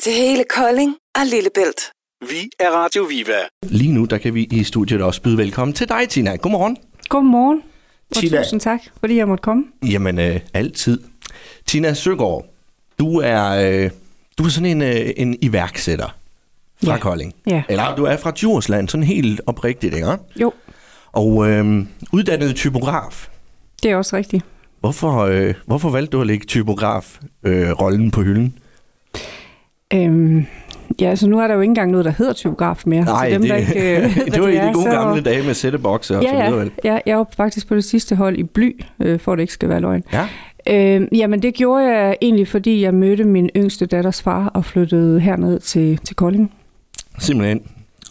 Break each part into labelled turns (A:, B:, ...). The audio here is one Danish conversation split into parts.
A: til hele Kolding og Lillebælt.
B: Vi er Radio Viva.
C: Lige nu, der kan vi i studiet også byde velkommen til dig, Tina. Godmorgen.
D: Godmorgen, og
C: Tina.
D: tusind tak, fordi jeg måtte komme.
C: Jamen, øh, altid. Tina Søgaard, du er, øh, du er sådan en, øh, en iværksætter fra
D: Ja.
C: Kolding.
D: Ja.
C: Eller du er fra Djursland, sådan helt oprigtigt, ikke?
D: Jo,
C: Og øh, uddannet typograf.
D: det er også rigtigt.
C: Hvorfor, øh, hvorfor valgte du at lægge typograf-rollen på hylden?
D: Øhm, ja, altså nu er der jo ikke engang noget, der hedder typograf mere.
C: Nej,
D: så dem,
C: det,
D: der ikke, øh, ved, hvad
C: det var i
D: er,
C: de gode
D: så-
C: gamle dage med sættebokse og så
D: Ja,
C: videre.
D: ja,
C: vel?
D: ja, jeg var faktisk på det sidste hold i bly, øh, for at det ikke skal være løgn.
C: ja.
D: Øhm, jamen det gjorde jeg egentlig, fordi jeg mødte min yngste datters far og flyttede herned til, til Kolding.
C: Simpelthen.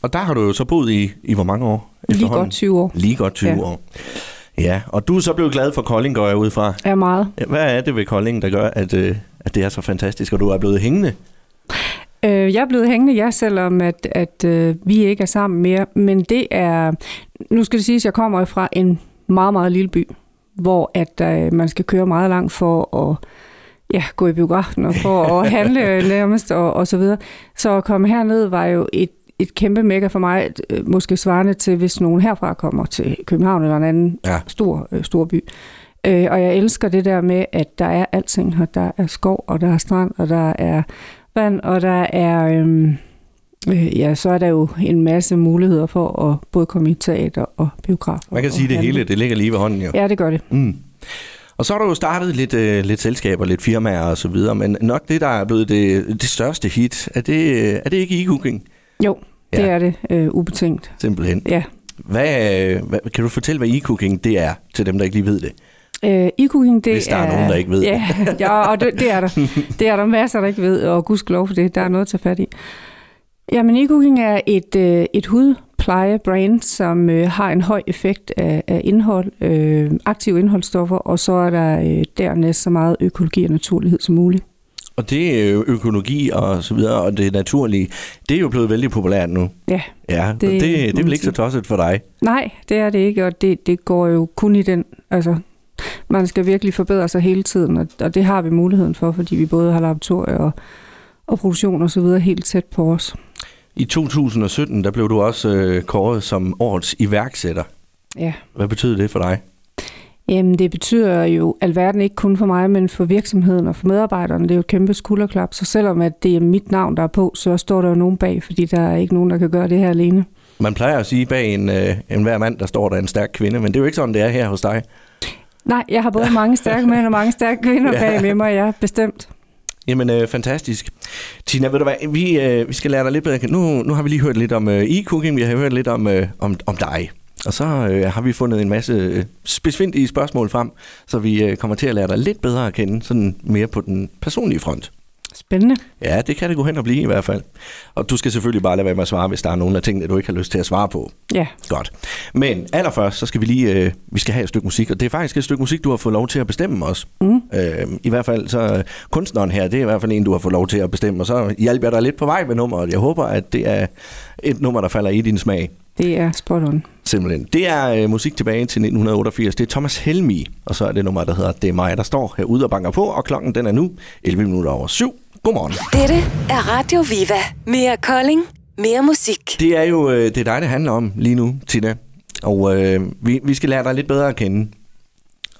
C: Og der har du jo så boet i, i hvor mange år?
D: Lige
C: efterhånden?
D: godt 20 år.
C: Lige godt 20 ja.
D: Ja.
C: år. Ja, og du er så blevet glad for Kolding, går jeg ud fra.
D: Er meget.
C: Ja, Hvad er det ved Kolding, der gør, at, øh, at det er så fantastisk, og du er blevet hængende?
D: Øh, jeg er blevet hængende, ja, selvom at, at øh, vi ikke er sammen mere. Men det er, nu skal det siges, at jeg kommer fra en meget, meget lille by, hvor at øh, man skal køre meget langt for at ja, gå i biografen og for at handle øh, nærmest og, og så videre. Så at komme herned var jo et, et kæmpe mega for mig, øh, måske svarende til, hvis nogen herfra kommer til København eller en anden
C: Ja.
D: ja. stor, øh, stor by. Øh, og jeg elsker det der med, at der er alting her. Der er skov, og der er strand, og der er vand, og der er... Øhm, øh, ja, så er der jo en masse muligheder for at både komme i teater og biograf.
C: Man kan sige, det hele det ligger lige ved hånden jo.
D: Ja, det gør det.
C: Mm. Og så har du jo startet lidt, øh, lidt selskaber, lidt firmaer og så videre, men nok det, der er blevet det, det største hit, er det, øh, er det ikke e-cooking,
D: Jo, det
C: Ja.
D: er det. Øh, ubetinget.
C: simpelthen?
D: Ja.
C: Hvad, øh, hvad, kan du fortælle, hvad e-cooking det er, til dem, der ikke lige ved det?
D: Øh, e-cooking, det
C: Hvis der er
D: er
C: nogen, der ikke ved det.
D: Ja, ja og det, det er der. Det er der masser, der ikke ved, og gudskelov for det. Der er noget at tage fat i. Jamen, e-cooking er et, øh, et hudpleje-brand, som øh, har en høj effekt af, af indhold, øh, aktive indholdsstoffer, og så er der øh, dernæst så meget økologi og naturlighed som muligt.
C: Og det er jo økologi og så videre, og det naturlige, det er jo blevet vældig populært nu.
D: Ja,
C: Ja, det,
D: Det
C: og det, det
D: må
C: er vel
D: man
C: ikke så
D: sige.
C: tosset for dig.
D: nej, det er det ikke, og det, det går jo kun i den, altså... Man skal virkelig forbedre sig hele tiden, og, og det har vi muligheden for, fordi vi både har laboratorier og, og produktion og så videre helt tæt på os.
C: I 2017, der blev du også øh, kåret som årets iværksætter.
D: Ja.
C: Hvad betyder det for dig?
D: Jamen, det betyder jo alverden ikke kun for mig, men for virksomheden og for medarbejderne. Det er jo et kæmpe skulderklap, så selvom at det er mit navn, der er på, så står der jo nogen bag, fordi der er ikke nogen, der kan gøre det her alene.
C: Man plejer at sige, bag en, øh, en hver mand, der står der er en stærk kvinde, men det er jo ikke sådan, det er her hos dig.
D: Nej, jeg har både mange stærke mænd og mange stærke kvinder bag med mig, ja, bestemt.
C: Jamen, øh, fantastisk. Tina, ved du hvad, vi, øh, vi skal lære dig lidt bedre. at kende. Nu, nu har vi lige hørt lidt om øh, e-cooking, vi har hørt lidt om, øh, om, om dig. Og så øh, har vi fundet en masse øh, spidsfindige spørgsmål frem, så vi øh, kommer til at lære dig lidt bedre at kende, sådan mere på den personlige front.
D: Spændende.
C: Ja, det kan det gå hen og blive i hvert fald. Og du skal selvfølgelig bare lade være med at svare, hvis der er nogen af tingene, du ikke har lyst til at svare på.
D: Ja,
C: Godt. Men allerførst, så skal vi lige, øh, vi skal have et stykke musik, og det er faktisk et stykke musik, du har fået lov til at bestemme os. Mm. Øh, I hvert fald så øh, kunstneren her, det er i hvert fald en, du har fået lov til at bestemme, og så hjælper jeg dig lidt på vej med nummeret. Jeg håber, at det er et nummer, der falder i din smag.
D: det er spot on.
C: Simpelthen. Det er øh, musik tilbage til 1988. Det er Thomas Helmi, og så er det nummer, der hedder Det er mig, der står herude og banker på, og klokken den er nu 11 minutter over syv. Godmorgen.
A: Dette er Radio Viva. Mere Kolding, mere musik.
C: Det er jo øh, det er dig, det handler om lige nu, Tina. Og øh, vi, vi skal lære dig lidt bedre at kende.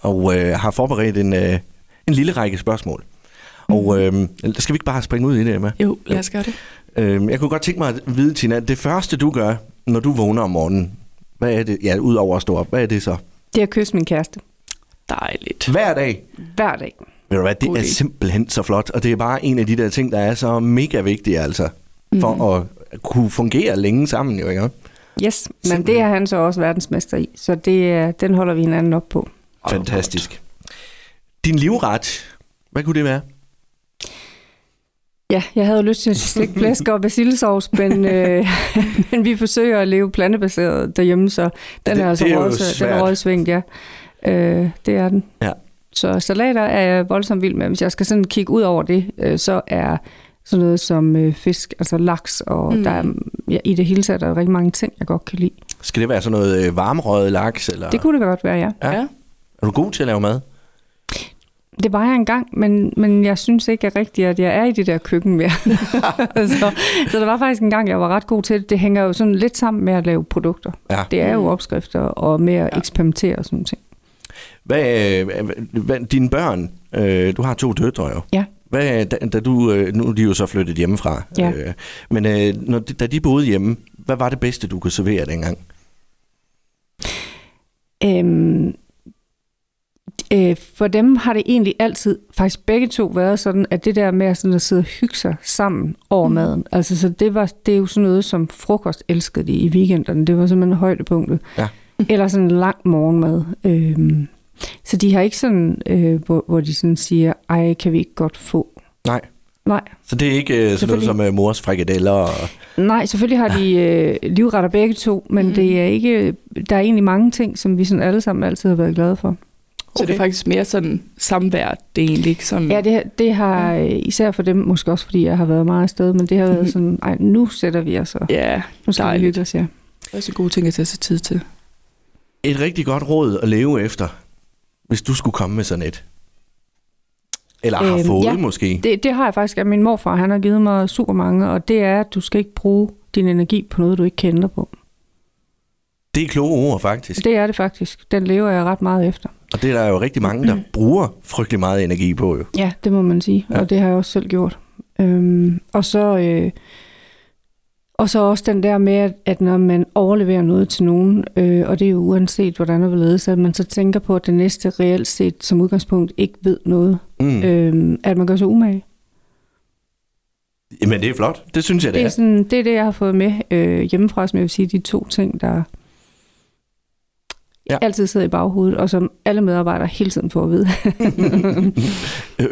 C: Og øh, har forberedt en, øh, en lille række spørgsmål. Og øh,
E: Mm.
C: skal vi ikke bare springe ud i det, Emma?
E: Jo, lad os gøre det.
C: Øh, jeg kunne godt tænke mig at vide, Tina, det første du gør, når du vågner om morgenen, hvad er det, ja, udover at stå op, hvad er det så?
D: Det er at kysse min kæreste.
E: Dejligt.
C: Hver dag.
D: Hver dag.
C: Ved du hvad, det
E: God
C: er
E: idé.
C: simpelthen så flot, og det er bare en af de der ting, der er så mega vigtige, altså, for mm. at kunne fungere længe sammen, jo ikke?
D: Yes, men det er han så også verdensmester i, så det, er- den holder vi hinanden op på.
C: Fantastisk. Din livret, hvad kunne det være?
D: Ja, jeg havde jo lyst til slik, flæsk og basilisauce, men, øh, men vi forsøger at leve plantebaseret derhjemme, så den
C: Det-
D: er altså
C: det er jo
D: røget- den
C: svært.
D: er røgsvingt, ja. Øh, det er den.
C: Ja.
D: Så salater er jeg voldsomt vild med. Hvis jeg skal sådan kigge ud over det, øh, så er sådan noget som øh, fisk, altså laks, og mm. der er, ja, i det hele taget er der rigtig mange ting, jeg godt kan lide.
C: Skal det være sådan noget øh, varmrøget laks? Eller?
D: Det kunne det godt være, ja.
C: Ja. Er du god til at lave mad?
D: Det var jeg engang, men, men jeg synes ikke at rigtigt, at jeg er i det der køkken mere. så, så der var faktisk en gang, jeg var ret god til det. Det hænger jo sådan lidt sammen med at lave produkter.
C: Ja.
D: Det er jo opskrifter og med at eksperimentere og sådan noget.
C: Hvad, øh, hvad, hvad, dine børn, øh, du har to døtre jo.
D: Ja.
C: Hvad, da, da du, øh, nu er de jo så flyttet hjemmefra,
D: Ja.
C: øh, men øh, når de, da de boede hjemme, hvad var det bedste, du kunne servere dengang?
D: Øhm, øh, for dem har det egentlig altid, faktisk begge to, været sådan, at det der med at, sådan at sidde og hygge sig sammen over mm. maden, altså så det, var, det er jo sådan noget, som frokost elskede de i weekenderne. Det var simpelthen højdepunktet.
C: Ja.
D: Eller sådan en lang morgenmad. Øhm, så de har ikke sådan, øh, hvor, hvor de sådan siger, ej, kan vi ikke godt få?
C: Nej,
D: Nej,
C: så det er ikke øh, sådan noget
D: Selvfølgelig.
C: som øh, mors frikadeller og...
D: Nej, selvfølgelig har de øh, livretter begge to, men mm. det er ikke, der er egentlig mange ting, som vi sådan alle sammen altid har været glade for.
E: Så det
C: Okay.
E: er faktisk mere sådan samvær, det er egentlig ikke sådan...
D: Mm. Ja, Mm-hmm. det, det har øh, især for dem, måske også fordi jeg har været meget afsted, men det har været sådan, ej, nu sætter vi os, og
E: ja
D: nu skal vi
E: dejligt.
D: hygge os, ja.
E: det er så gode ting at tage sig tid til.
C: Et rigtig godt råd at leve efter, hvis du skulle komme med sådan et. Eller har
D: Øhm,
C: fået
D: ja.
C: måske.
D: Det, det har jeg faktisk af min morfar, han har givet mig super mange, og det er, at du skal ikke bruge din energi på noget, du ikke kender på.
C: Det er kloge ord faktisk,
D: Det er det faktisk. Den lever jeg ret meget efter.
C: og det er der jo rigtig mange,
D: Mm.
C: der bruger frygtelig meget energi på jo.
D: Ja, det må man sige,
C: Ja.
D: ja. og det har jeg også selv gjort. Øhm, og så øh, og så også den der med, at, at når man overleverer noget til nogen, øh, og det er jo uanset hvordan og hvorledes, at man så tænker på, at den næste reelt set som udgangspunkt ikke ved noget,
C: Mm.
D: mm. øhm, at man gør sig umage.
C: Jamen Øh, det er flot, det synes jeg
D: Det er, sådan, det er det, jeg har fået med øh, hjemmefra, som jeg vil sige, de to ting, der
C: Ja.
D: ja. altid sidder i baghovedet, og som alle medarbejdere hele tiden får at vide.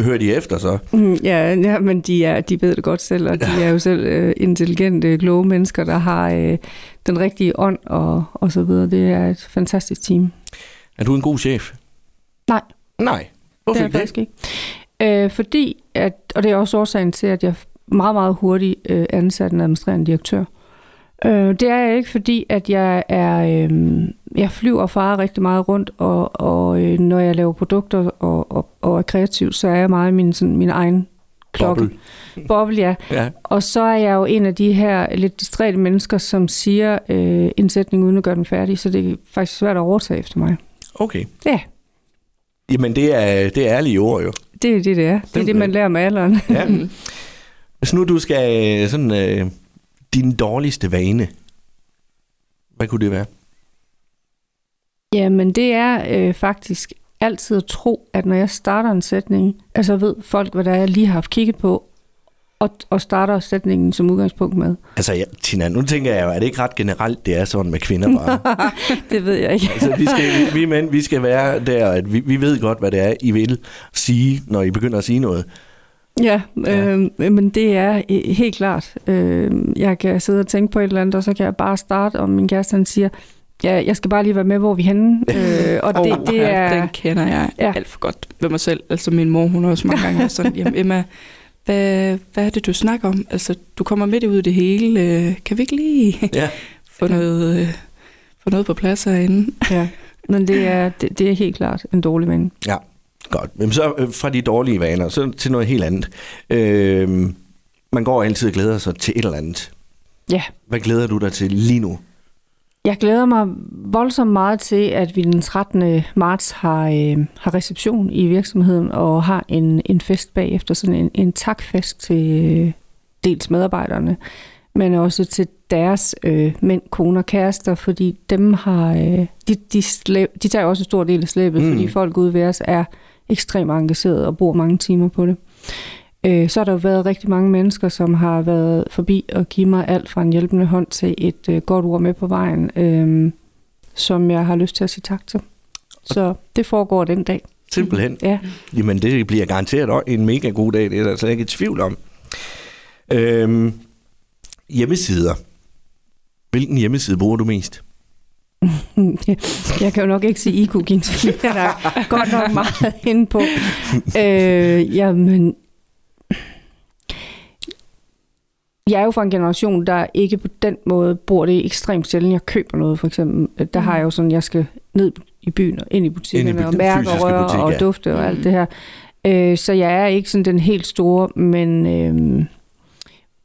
C: Hører de efter så?
D: Mm, Ja, ja men de, er, de ved det godt selv, og de er jo selv øh, intelligente, kloge mennesker, der har øh, den rigtige ånd og, og så videre. Det er et fantastisk team.
C: Er du en god chef?
D: Nej.
C: Nej. Hvorfor
D: det er jeg
C: ikke det?
D: faktisk ikke. Øh, fordi, at, og det er også årsagen til, at jeg meget, meget hurtigt øh, ansat en administrerende direktør. Øh, det er jeg ikke, fordi at jeg er, øh, jeg flyver og farer rigtig meget rundt, og, og øh, når jeg laver produkter og, og, og er kreativ, så er jeg meget i min, sådan, min egen klokke.
C: Boble.
D: Boble, ja.
C: Ja.
D: Og så er jeg jo en af de her lidt distræte mennesker, som siger øh, en sætning uden at gøre den færdig, så det er faktisk svært at overtage efter mig.
C: Okay.
D: Ja,
C: Jamen det er, det er ærlige ord jo.
D: det er det, det er. Det er det, man lærer med alderen.
C: Ja. Hvis nu du skal øh, sådan øh, din dårligste vane, hvad kunne det være?
D: Jamen, det er øh, faktisk altid at tro, at når jeg starter en sætning, altså ved folk, hvad der er, jeg lige har haft kigget på, og, og starter sætningen som udgangspunkt med.
C: Altså, ja, Tina, nu tænker jeg jo, er det ikke ret generelt, det er sådan med kvinder bare?
D: Det ved jeg ikke.
C: altså, vi, skal, vi mænd, vi skal være der, at vi, vi ved godt, hvad det er, I vil sige, når I begynder at sige noget.
D: Ja,
C: Ja.
D: øh, men det er øh, helt klart. Øh, jeg kan sidde og tænke på et eller andet, og så kan jeg bare starte, og min kæreste han siger, ja, jeg skal bare lige være med, hvor er vi er henne. Øh, og det, det er...
E: Den kender jeg
D: Ja.
E: ja. alt for godt ved mig selv. Altså min mor, hun har også mange gange været sådan, jamen Emma, hvad, hvad er det, du snakker om? Altså, du kommer midt ud i det hele. Øh, Kan vi ikke lige
C: Ja.
E: få noget, øh, få noget på plads herinde?
D: Ja, men det er, det, det er helt klart en dårlig vane.
C: Ja, godt. Jamen så øh, fra de dårlige vaner, så til noget helt andet. Øh, man går altid og glæder sig til et eller andet.
D: Ja,
C: Hvad glæder du dig til lige nu?
D: jeg glæder mig voldsomt meget til, at vi den 13. marts har, øh, har reception i virksomheden, og har en, en fest bagefter, sådan en, en takfest til øh, dels medarbejderne, men også til deres øh, mænd, koner, kærester, fordi dem har, øh, de, de, slæb, de tager jo også en stor del af slæbet,
C: Mm.
D: mm. fordi folk ude ved os er ekstremt engagerede og bruger mange timer på det. Øh, så har der jo været rigtig mange mennesker, som har været forbi og give mig alt fra en hjælpende hånd til et øh, godt ord med på vejen, øh, som jeg har lyst til at sige tak til. Så det foregår den dag.
C: Simpelthen.
D: Ja.
C: Jamen, det bliver garanteret også en mega god dag, det er der slet ikke et tvivl om. Øhm, hjemmesider. Hvilken hjemmeside bruger du mest?
D: Mm, ja. Jeg kan jo nok ikke sige IQ Games, fordi jeg er der godt nok meget inde på. Øh, jamen, jeg er jo fra en generation, der ikke på den måde bruger det ekstremt sjældent. Jeg køber noget, for eksempel. Øh, Der har jeg jo sådan, jeg skal ned i byen og ind i butikkerne
C: Ind i bu-
D: og mærke og
C: fysiske
D: røre
C: butik,
D: og
C: ja. Mm.
D: dufte og alt det her. Øh, så jeg er ikke sådan den helt store, men, øh,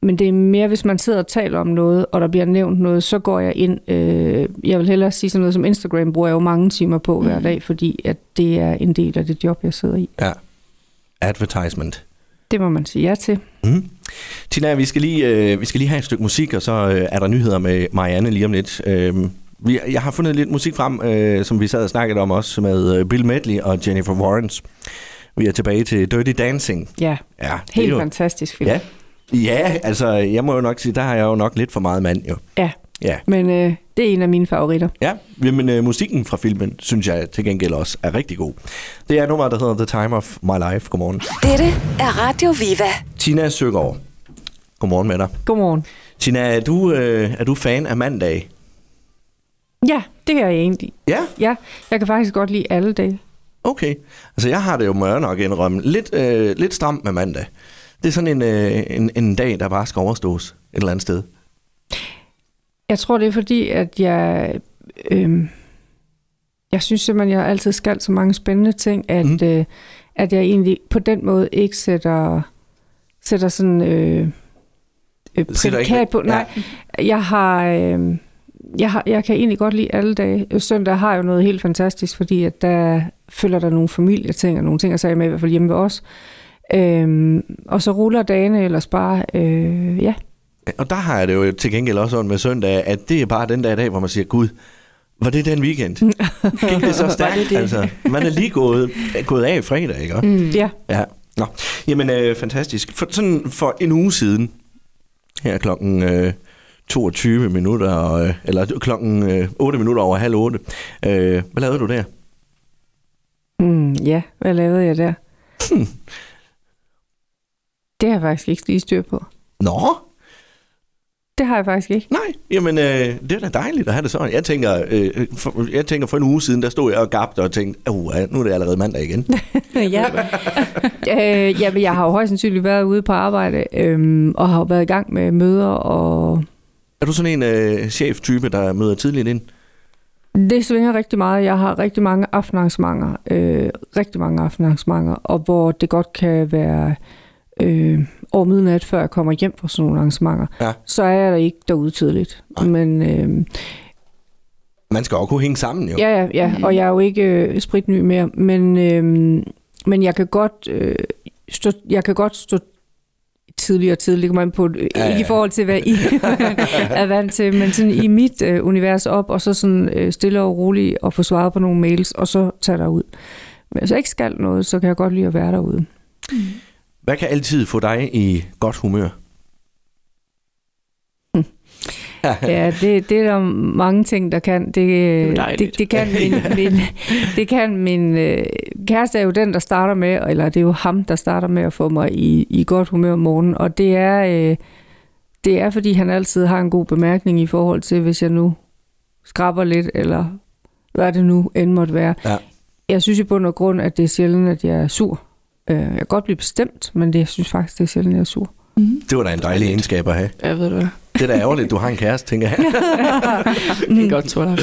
D: men det er mere, hvis man sidder og taler om noget, og der bliver nævnt noget, så går jeg ind. Øh, jeg vil hellere sige sådan noget som Instagram, bruger jeg jo mange timer på mm. hver dag, fordi at det er en del af det job, jeg sidder i.
C: Ja. Advertisement.
D: Det må man sige ja til.
C: Mm. Tina, vi skal, lige, øh, vi skal lige have et stykke musik, og så øh, er der nyheder med Marianne lige om lidt. Øh, vi, jeg har fundet lidt musik frem, øh, som vi sad og snakkede om også med øh, Bill Medley og Jennifer Warrens. Vi er tilbage til Dirty Dancing.
D: Ja,
C: Ja, det er
D: helt
C: jo-
D: fantastisk film.
C: Ja. ja, altså jeg må jo nok sige, der har jeg jo nok lidt for meget mand jo.
D: ja.
C: Ja,
D: men øh, det er en af mine favoritter.
C: ja. men øh, musikken fra filmen, synes jeg til gengæld også er rigtig god. Det er nummeret, der hedder The Time of My Life. Godmorgen.
A: Dette er Radio Viva.
C: Tina Søgaard. Godmorgen med dig.
D: Godmorgen.
C: Tina, er du, øh, er du fan af mandag?
D: Ja, det er jeg egentlig.
C: Ja,
D: Ja, jeg kan faktisk godt lide alle dage.
C: okay. Altså, jeg har det jo, må jeg nok indrømme, lidt, øh, lidt stramt med mandag. Det er sådan en, øh, en, en dag, der bare skal overstås et eller andet sted.
D: Jeg tror, det er fordi, at jeg... Øhm, jeg synes simpelthen, jeg altid skal så mange spændende ting, at,
C: Mm.
D: mm. øh, at jeg egentlig på den måde ikke sætter, sætter sådan øh, øh,
C: Sætter ikke-
D: prædikat på. Nej, ja. jeg har... Øh, jeg, har, jeg kan egentlig godt lide alle dage. Øh, Søndag har jo noget helt fantastisk, fordi at der følger der nogle familieting og nogle ting, og så er jeg med i hvert fald hjemme ved os. Øhm, og så ruller dagene ellers bare, øh, ja,
C: Og der har jeg det jo til gengæld også sådan med søndag, at det er bare den der i dag, hvor man siger, Gud, var det den weekend? Gik det så stærkt?
E: det det?
C: Altså, man er lige gået, gået af i fredag, ikke? Mm.
D: mm. ja.
C: Ja. Nå. Jamen, øh, fantastisk. For, sådan for en uge siden, her klokken øh, 22 minutter, og, øh, eller klokken øh, 8 minutter over halv 8, øh, hvad lavede du der?
D: Mm, ja, hvad lavede jeg der?
C: Hmm.
D: det har jeg faktisk ikke lige styr på.
C: Nå,
D: Det har jeg faktisk ikke.
C: nej, jamen øh, det er da dejligt at have det sådan. Jeg tænker, øh, for, jeg tænker for en uge siden, der stod jeg og gabte og tænkte, uh, nu er det allerede mandag igen.
D: ja. øh, ja, men jeg har jo højst sandsynligt været ude på arbejde, øhm, og har jo været i gang med møder, og
C: Er du sådan en øh, chef-type, der møder tidligt ind?
D: det svinger rigtig meget. Jeg har rigtig mange aftenarrangementer, øh, rigtig mange aftenarrangementer, og hvor det godt kan være øh, over midnat, før jeg kommer hjem fra sådan nogle arrangementer,
C: Ja.
D: så er jeg der ikke derude tidligt.
C: Nej.
D: Men øh,
C: Man skal også kunne hænge sammen, jo.
D: Ja, ja, ja. Og jeg er jo ikke øh, spritny mere, men, øh, men jeg kan godt øh, stå, jeg kan godt stå tidligere og tidligt, kommer man på, øh,
C: Ja, ja,
D: ikke i
C: ja.
D: forhold til, hvad I er vant til, men sådan i mit øh, univers op, og så sådan øh, stille og roligt og få svaret på nogle mails, og så tage derud. Men hvis jeg ikke skal noget, så kan jeg godt lide at være derude.
C: Hvad kan altid få dig i godt humør?
D: Ja, det, det er der mange ting, der kan. Det, øh,
E: er jo
D: det,
E: dejligt.
D: det, det kan min, min, det kan min øh, kæreste er jo den, der starter med, eller det er jo ham, der starter med at få mig i, i godt humør om morgenen. Og det er, øh, det er, fordi han altid har en god bemærkning i forhold til, hvis jeg nu skraber lidt, eller hvad det nu end måtte være.
C: Ja.
D: Jeg synes i bund og grund, at det er sjældent, at jeg er sur. Øh, jeg kan godt blive bestemt, men det, jeg synes faktisk, det er sjældent, at jeg er sur.
C: Det var da en dejlig egenskab at have.
E: Jeg ved du hvad.
C: Det er da ærgerligt, du har en kæreste, tænker jeg.
E: Det
D: Mm.
E: kan godt tror jeg.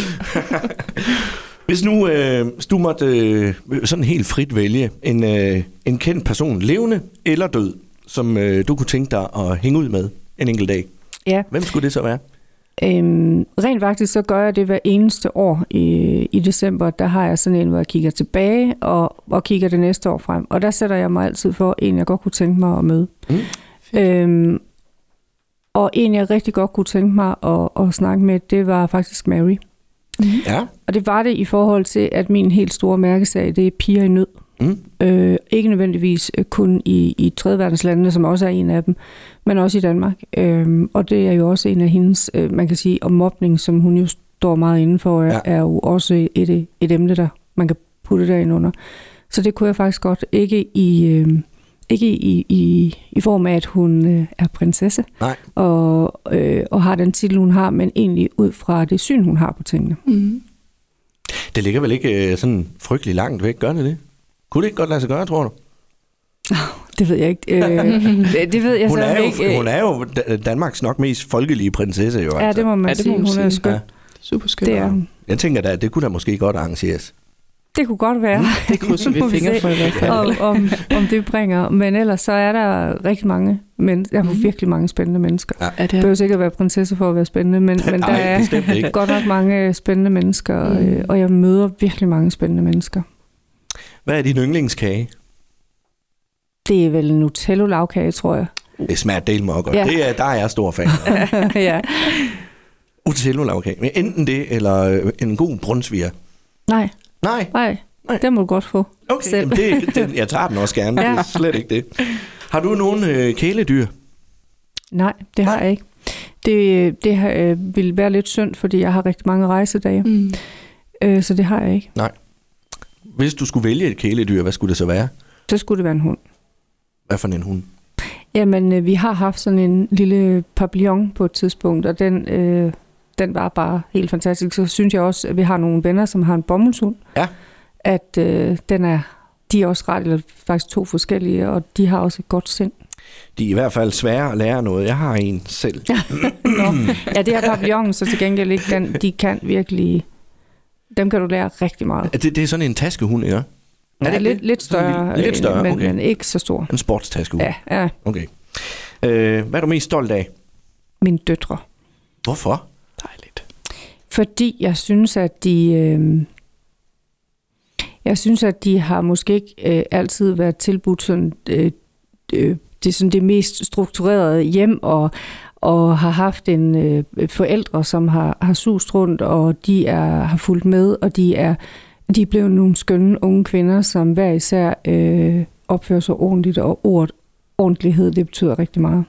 C: Hvis nu, øh, hvis du måtte øh, sådan helt frit vælge en, øh, en kendt person, levende eller død, som øh, du kunne tænke dig at hænge ud med en enkelt dag,
D: Ja.
C: hvem skulle det så være?
D: Øhm, rent faktisk så gør jeg det hver eneste år i, i december. Der har jeg sådan en, hvor jeg kigger tilbage og, og kigger det næste år frem. Og der sætter jeg mig altid for en, jeg godt kunne tænke mig at møde.
C: Mm.
D: Øhm, og en, jeg rigtig godt kunne tænke mig at, at snakke med, det var faktisk Mary.
C: Ja.
D: Og det var det i forhold til, at min helt store mærkesag, det er piger i nød.
C: Mm.
D: Øh, ikke nødvendigvis øh, kun i, i tredje verdenslandene, som også er en af dem, men også i Danmark. Øh, og det er jo også en af hendes, øh, man kan sige, om mobning, som hun jo står meget indenfor,
C: Ja.
D: ja. er jo også et, et emne, der man kan putte derind under. Så det kunne jeg faktisk godt. Ikke i, øh, ikke i, i, i form af, at hun øh, er prinsesse
C: Nej.
D: og, øh, og har den titel, hun har, men egentlig ud fra det syn, hun har på tingene.
E: Mm.
C: Det ligger vel ikke øh, sådan frygtelig langt væk, gør det det? Kunne det ikke godt lade sig gøre, tror du?
D: Det ved jeg ikke. Øh, det- det ved jeg
C: Hun
D: så
C: er,
D: ikke. øh,
C: jo, hun er jo Da- Danmarks nok mest folkelige prinsesse, jo
D: Ja,
C: altså.
D: det må man
E: Ja,
D: ja,
E: det må
D: sige.
E: man
D: Hun er
E: sige.
D: skøn.
C: Ja.
E: Super skønt.
D: Det er hun.
C: Jeg tænker da, at det kunne da måske godt arrangeres. Hmm?
D: Det kunne godt være.
E: Det krydser vi
D: Må vi
E: fingre
D: se.
E: for i hvert
C: Mm.
E: fald.
D: om, om, om det bringer. Men ellers så er der rigtig mange mennesker. Der er
E: Mhm.
D: virkelig mange spændende mennesker.
E: Er
D: Det
E: det,
D: behøver sikkert at være prinsesse for at være spændende, men, men der
C: Nej,
D: er
C: bestemt ikke.
D: godt nok mange øh, spændende mennesker,
E: Mm.
D: øh, og jeg møder virkelig mange spændende mennesker.
C: Hvad er din yndlingskage?
D: Det er vel en Nutello-lavkage, tror jeg.
C: Det smager del mig godt.
D: Ja.
C: Ja. Det er, der er jeg stor fan af.
D: ja.
C: Utello-lavkage. Men enten det, eller øh, en god brunsviger.
D: Nej,
C: Nej,
D: nej,
C: Nej.
D: den må du godt få.
C: okay.
D: Selv.
C: Jamen, det, den, jeg tager den også gerne. Ja. Det
D: Ja.
C: er slet ikke det. Har du nogen øh, kæledyr?
D: Nej, det har
C: Nej.
D: jeg ikke. Det, det har, øh, ville være lidt synd, fordi jeg har rigtig mange rejsedage,
E: mm.
D: øh, så det har jeg ikke.
C: Hvis du skulle vælge et kæledyr, hvad skulle det så være?
D: Så skulle det være en hund.
C: Hvad for en hund?
D: Jamen, øh, vi har haft sådan en lille pavillon på et tidspunkt, og den, øh, den var bare helt fantastisk. Så synes jeg også, at vi har nogle venner, som har en bomuldshund.
C: Ja.
D: At øh, den er, de er også ret, eller faktisk to forskellige, og de har også et godt sind.
C: De er i hvert fald svære at lære noget. Jeg har en selv.
D: Nå. Ja, det er pavillonen, så til gengæld ikke den, de kan virkelig... Dem kan du lære rigtig meget.
C: Er Det, det er sådan en taskehund, ikke?
D: Ja,
C: det
D: det er
C: ikke
D: lidt,
C: det?
D: lidt
C: Sådan en
D: større,
C: lille- lidt
D: øh,
C: større,
D: men,
C: okay.
D: men ikke så stor.
C: En sportstaskehund.
D: Ja, ja,
C: Okay. Øh, hvad er du mest stolt af?
D: mine døtre.
C: Hvorfor?
E: dejligt.
D: Fordi jeg synes, at de... Øh, jeg synes, at de har måske ikke øh, altid været tilbudt sådan, øh, øh, det, er sådan det mest strukturerede hjem, og, og har haft en øh, forældre, som har, har sust rundt, og de er, har fulgt med, og de er, de er blevet nogle skønne unge kvinder, som hver især øh, opfører sig ordentligt, og ordet ordentlighed, det betyder rigtig meget.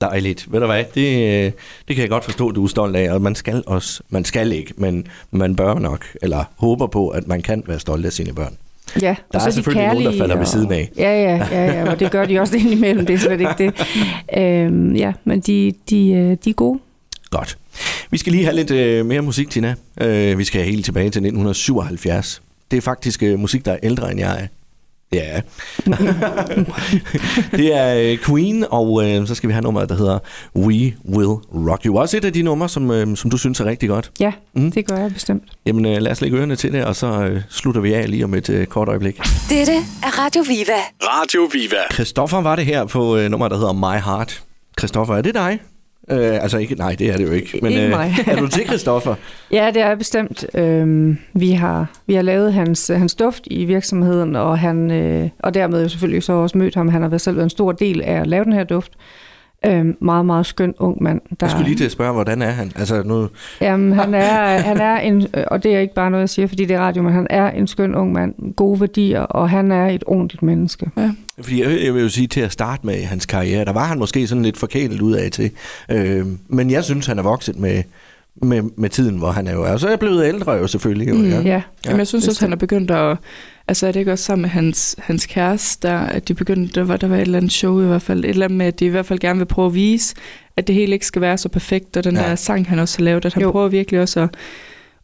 C: Dejligt. Ved du hvad, det, øh, det kan jeg godt forstå, du er stolt af, og man skal også, man skal ikke, men man bør nok, eller håber på, at man kan være stolt af sine børn.
D: Ja,
C: Der er
D: de
C: selvfølgelig nogen, der
D: kærlige
C: falder ved
D: og...
C: siden af.
D: Ja, ja, ja, ja, og det gør de også indimellem, det er slet ikke det. Øhm, ja, men de, de, øh, de er gode.
C: Godt. Vi skal lige have lidt øh, mere musik, Tina. Øh, vi skal helt tilbage til 1977. Det er faktisk øh, musik, der er ældre end jeg er. Ja. det er øh, Queen, og øh, så skal vi have nummeret, der hedder We Will Rock You. Også et af de numre, som, øh, som du synes er rigtig godt.
D: Ja,
C: Mm.
D: mm. det gør jeg bestemt.
C: Jamen øh, lad os lægge ørerne til det, og så øh, slutter vi af lige om et øh, kort øjeblik.
A: Dette er Radio Viva.
B: Radio Viva.
C: Christoffer var det her på øh, nummeret, der hedder My Heart. Christoffer, er det dig? Øh, altså ikke, nej, det er det jo ikke. Men øh,
D: Ikke mig.
C: er du til Christoffer?
D: Ja, det er jeg bestemt. Øhm, vi, har, vi har lavet hans, øh, hans duft i virksomheden, og, han, øh, og dermed jo selvfølgelig så også mødt ham. Han har været selv været en stor del af at lave den her duft. Øhm, meget, meget skøn ung mand. Der,
C: Jeg skulle lige til at spørge, hvordan er han? Altså nu,
D: Jamen, han er, han er en, og det er ikke bare noget, jeg siger, fordi det er radio, men han er en skøn ung mand, gode værdier, og han er et ordentligt menneske.
C: fordi jeg, jeg vil jo sige, til at starte med i hans karriere, der var han måske sådan lidt forkælet ud af til. Øh, men jeg synes, han er vokset med, med, med tiden, hvor han er jo er. Så er jeg blevet ældre jo selvfølgelig. Jo,
E: Mm,
C: ja.
D: Ja,
E: Jamen, jeg synes
C: det
E: også, han er begyndt at... Altså, er det ikke også sammen med hans, hans kæreste, der, at de begyndte, der var, der var et eller andet show i hvert fald, et eller andet med, at de i hvert fald gerne vil prøve at vise, at det hele ikke skal være så perfekt, og den
C: Ja.
E: ja. der sang, han også har lavet, at han
D: Jo.
E: jo. prøver virkelig også at,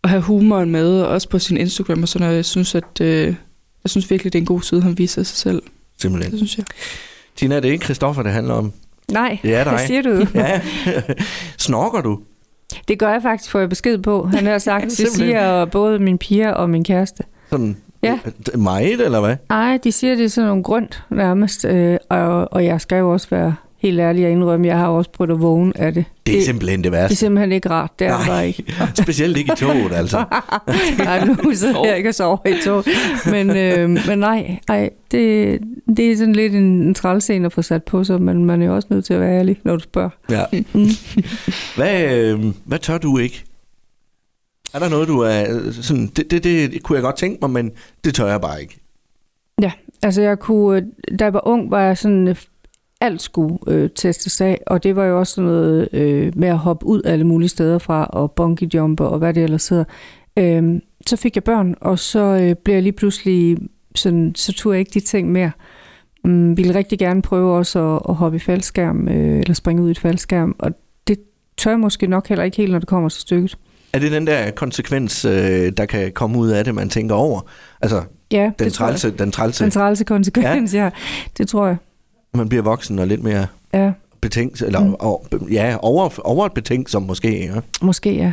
E: at have humoren med, også på sin Instagram og sådan noget. Jeg synes, at, øh, jeg synes virkelig, det er en god side, han viser sig selv. Det
C: Simpelthen.
E: synes jeg.
C: Tina, det er ikke Christoffer, det handler om.
D: Nej,
C: Det er
D: hvad
C: dig.
D: siger du?
C: Ja. Snorker du?
D: Det gør jeg faktisk, får jeg besked på. Han har sagt, det
C: Simpelthen.
D: siger både min piger og min kæreste.
C: Sådan
D: Ja.
C: øh, meget, eller hvad?
D: Ej, de siger, det er sådan nogle grønt nærmest, øh, og, og jeg skal jo også være helt ærlig og indrømme, jeg har også prøvet at vågne af det.
C: Det er simpelthen det
D: det er
C: værste.
D: simpelthen ikke rart, det er det
C: Nej.
D: bare Altså ikke.
C: Specielt ikke i toget, altså.
D: Nej, nu sidder jeg ikke og sover i tog. Men, øh, men nej, ej, det, det er sådan lidt en, en trælscene at få sat på sig, men man er jo også nødt til at være ærlig, når du spørger.
C: Ja. Hvad, øh, hvad tør du ikke? Er der noget, du er øh, sådan, det, det, det kunne jeg godt tænke mig, men det tør jeg bare ikke.
D: Altså, jeg kunne, øh, da jeg var ung, var jeg sådan, øh, alt skulle øh, testes af, og det var jo også sådan noget øh, med at hoppe ud alle mulige steder fra, og bungee jumper og hvad det ellers hedder. Øh, så fik jeg børn, og så øh, blev jeg lige pludselig sådan, så turde jeg ikke de ting mere. Mm, ville rigtig gerne prøve også at, at hoppe i faldskærm, øh, eller springe ud i et faldskærm, og det tør jeg måske nok heller ikke helt, når det kommer til stykket.
C: Er det den der konsekvens, øh, der kan komme ud af det, man tænker over? Altså,
D: Ja,
C: den
D: det tror jeg.
C: trælse, den trælse,
D: Den trælse konsekvens, ja. ja. Det tror jeg.
C: man bliver voksen og lidt mere
D: Ja,
C: betænkt, eller mm. og, ja, over, over betænkt som måske. Ja.
D: måske ja.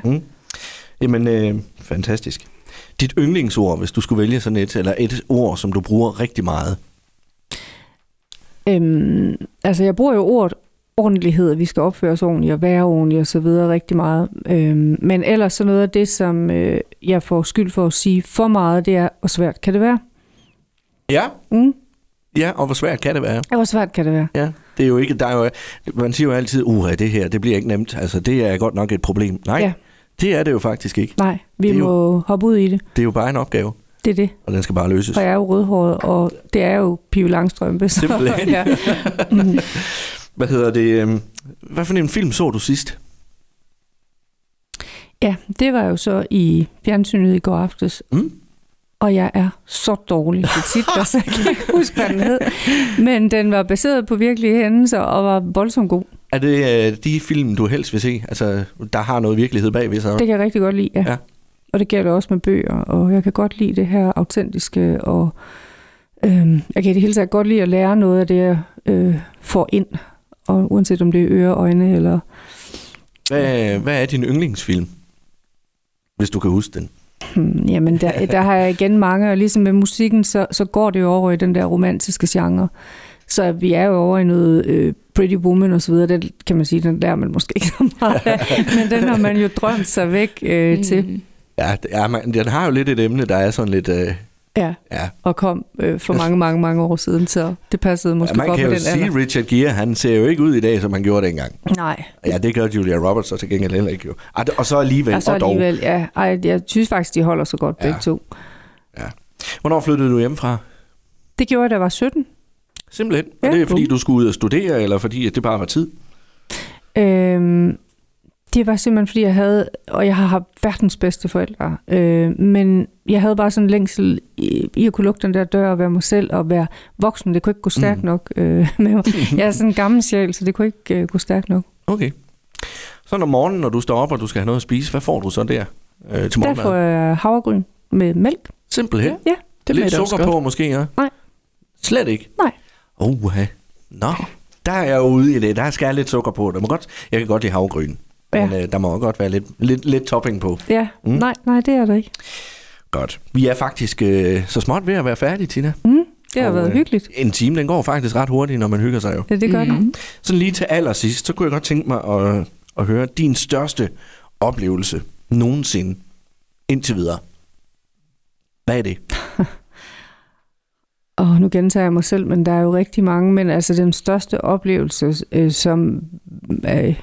C: Jamen, øh, fantastisk. dit yndlingsord, hvis du skulle vælge sådan et, eller et ord, som du bruger rigtig meget?
D: Øhm, altså, jeg bruger jo ordet ordentlighed, at vi skal opføre os ordentligt og være ordentligt og så videre rigtig meget. Øhm, men ellers så noget af det, som øh, jeg får skyld for at sige for meget, det er, hvor svært kan det være?
C: Ja,
D: Mm?
C: ja, og hvor svært kan det være?
D: Ja, Hvor svært kan det være?
C: Ja, det er jo ikke, der er jo, man siger jo altid, uha, det her, det bliver ikke nemt, altså det er godt nok et problem. Nej, ja.
D: Ja.
C: det er det jo faktisk ikke.
D: Nej,
C: Det
D: vi
C: er jo-
D: må jo... hoppe ud i det.
C: Det er jo bare en opgave,
D: Det er det.
C: og den skal bare løses.
D: Og jeg er jo rødhåret, og det er jo Pio Langstrømpe. Så,
C: Simpelthen.
D: ja. Mm.
C: Hvad hedder det? øhm, Hvad for en film så du sidst?
D: ja, det var jo så i fjernsynet i går aftes.
C: Mm?
D: Og jeg er så dårlig til titler, så jeg kan ikke huske, hvad den hed. Men den var baseret på virkelige hændelser og var voldsomt god.
C: Er det øh, de film, du helst vil se? Altså, der har noget virkelighed bagved sig?
D: Det kan jeg rigtig godt lide, ja.
C: Ja.
D: ja. Og det gælder også med bøger, og jeg kan godt lide det her autentiske, og øhm, jeg kan i det hele taget godt lide at lære noget af det, jeg øh, får ind. Og uanset om det er ører, øjne eller...
C: Hvad, hvad er din yndlingsfilm? Hvis du kan huske den.
D: Hmm, jamen, der, der har jeg igen mange, og ligesom med musikken, så, så går det jo over i den der romantiske genre. Så vi er jo over i noget øh, Pretty Woman og så videre, den kan man sige, den lærer man måske ikke så meget af, men den har man jo drømt sig væk øh, til.
E: Mm.
C: Ja, det er, man, den har jo lidt et emne, der er sådan lidt... Øh,
D: Ja.
C: ja.
D: og kom øh, for mange, mange, mange år siden, så det passede
C: Ja,
D: måske
C: man
D: godt
C: kan
D: med
C: jo
D: den
C: sige,
D: alder.
C: Richard Gere, han ser jo ikke ud i dag, som han gjorde dengang.
D: Nej,
C: Ja, det gør Julia Roberts så til gengæld heller ikke. Jo. Ej, Og så alligevel,
D: og så
C: og dog.
D: alligevel, ja, ej, jeg synes faktisk, de holder så godt begge
C: Ja.
D: to.
C: Hvornår flyttede du hjemmefra?
D: Det gjorde jeg, da jeg var 17.
C: Simpelthen. Ja.
D: Ja.
C: Er det fordi, du skulle ud og studere, eller fordi at det bare var tid?
D: Øhm, det var simpelthen, fordi jeg havde, og jeg har haft verdens bedste forældre, øh, men jeg havde bare sådan en længsel i, i at kunne lukke den der dør og være mig selv og være voksen. Det kunne ikke gå stærkt
C: Mm.
D: mm. nok øh, med mig. Jeg er sådan en gammel sjæl, så det kunne ikke øh, gå stærkt nok.
C: Okay. Så når morgenen, når du står op, og du skal have noget at spise, hvad får du så der øh, til
D: Der
C: morgenmad?
D: får jeg havregryn med mælk.
C: Simpelthen.
D: Ja.
E: Det
C: Lidt
E: bliver da også
C: sukker
E: godt.
C: på måske, ja?
D: Nej.
C: Slet ikke?
D: Nej.
C: Oha. Nå, der er jeg ude i det. Der skal jeg lidt sukker på. Der må godt, jeg kan godt lide havgryn.
D: Ja.
C: Men øh, der må også godt være lidt, lidt, lidt topping på.
D: Ja,
C: Mm.
D: mm. nej, nej, det er der ikke.
C: Godt. Vi er faktisk øh, så småt ved at være færdige, Tina.
D: Mm, det har
C: Og,
D: været
C: øh,
D: hyggeligt.
C: En time, den går faktisk ret hurtigt, når man hygger sig jo.
D: Ja, det gør mm. den.
C: Sådan lige til allersidst, så kunne jeg godt tænke mig at, at høre din største oplevelse nogensinde indtil videre. Hvad er det?
D: Og nu gentager jeg mig selv, men der er jo rigtig mange, men altså den største oplevelse, øh, som øh,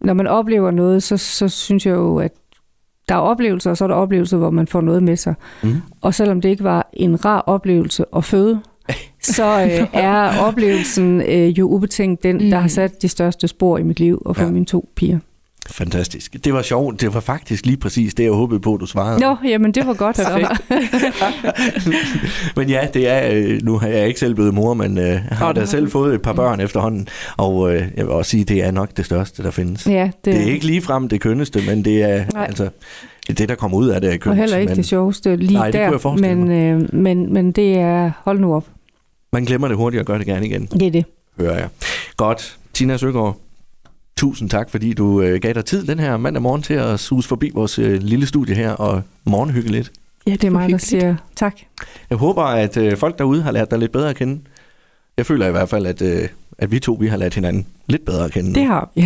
D: når man oplever noget, så, så synes jeg jo, at der er oplevelser, og så er der oplevelser, hvor man får noget med sig.
C: Mm.
D: Og selvom det ikke var en rar oplevelse at føde, så øh, er oplevelsen øh, jo ubetinget den, der har sat de største spor i mit liv og for
C: Ja.
D: ja. mine to piger.
C: Fantastisk. Det var sjovt. Det var faktisk lige præcis det, jeg håbede på, du svarede.
D: Nå, jamen det var godt. Så.
C: Men ja, det er, øh, nu har jeg ikke selv blevet mor, men øh, har
E: det
C: da
E: har
C: selv fået et par børn efterhånden. Og øh, jeg vil også sige, det er nok det største, der findes.
D: Ja, det,
C: Det er ikke ligefrem det kønneste, men det er
D: Nej.
C: altså det, der kommer ud af det er kønt.
D: og heller ikke
C: men
D: det sjoveste lige
C: Nej, det kunne jeg
D: der,
C: forestille
D: men, øh, men, men det er, hold nu op,
C: man glemmer det hurtigt og gør det gerne igen.
D: det er det.
C: hører jeg. Godt. Tina Søgaard, tusind tak, fordi du øh, gav dig tid den her mandag morgen til at sus forbi vores øh, lille studie her og morgenhygge lidt.
D: Ja, det er mig, der
E: hyggeligt.
D: siger tak.
C: Jeg håber, at øh, folk derude har lært dig lidt bedre at kende. Jeg føler i hvert fald, at, øh, at vi to vi har lært hinanden lidt bedre at kende.
D: Det har vi.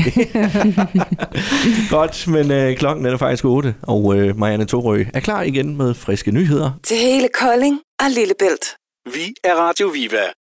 C: Godt, men øh, klokken er faktisk 8, og øh, Marianne Torø er klar igen med friske nyheder.
A: Til hele Kolding og Lillebælt.
B: Vi er Radio Viva.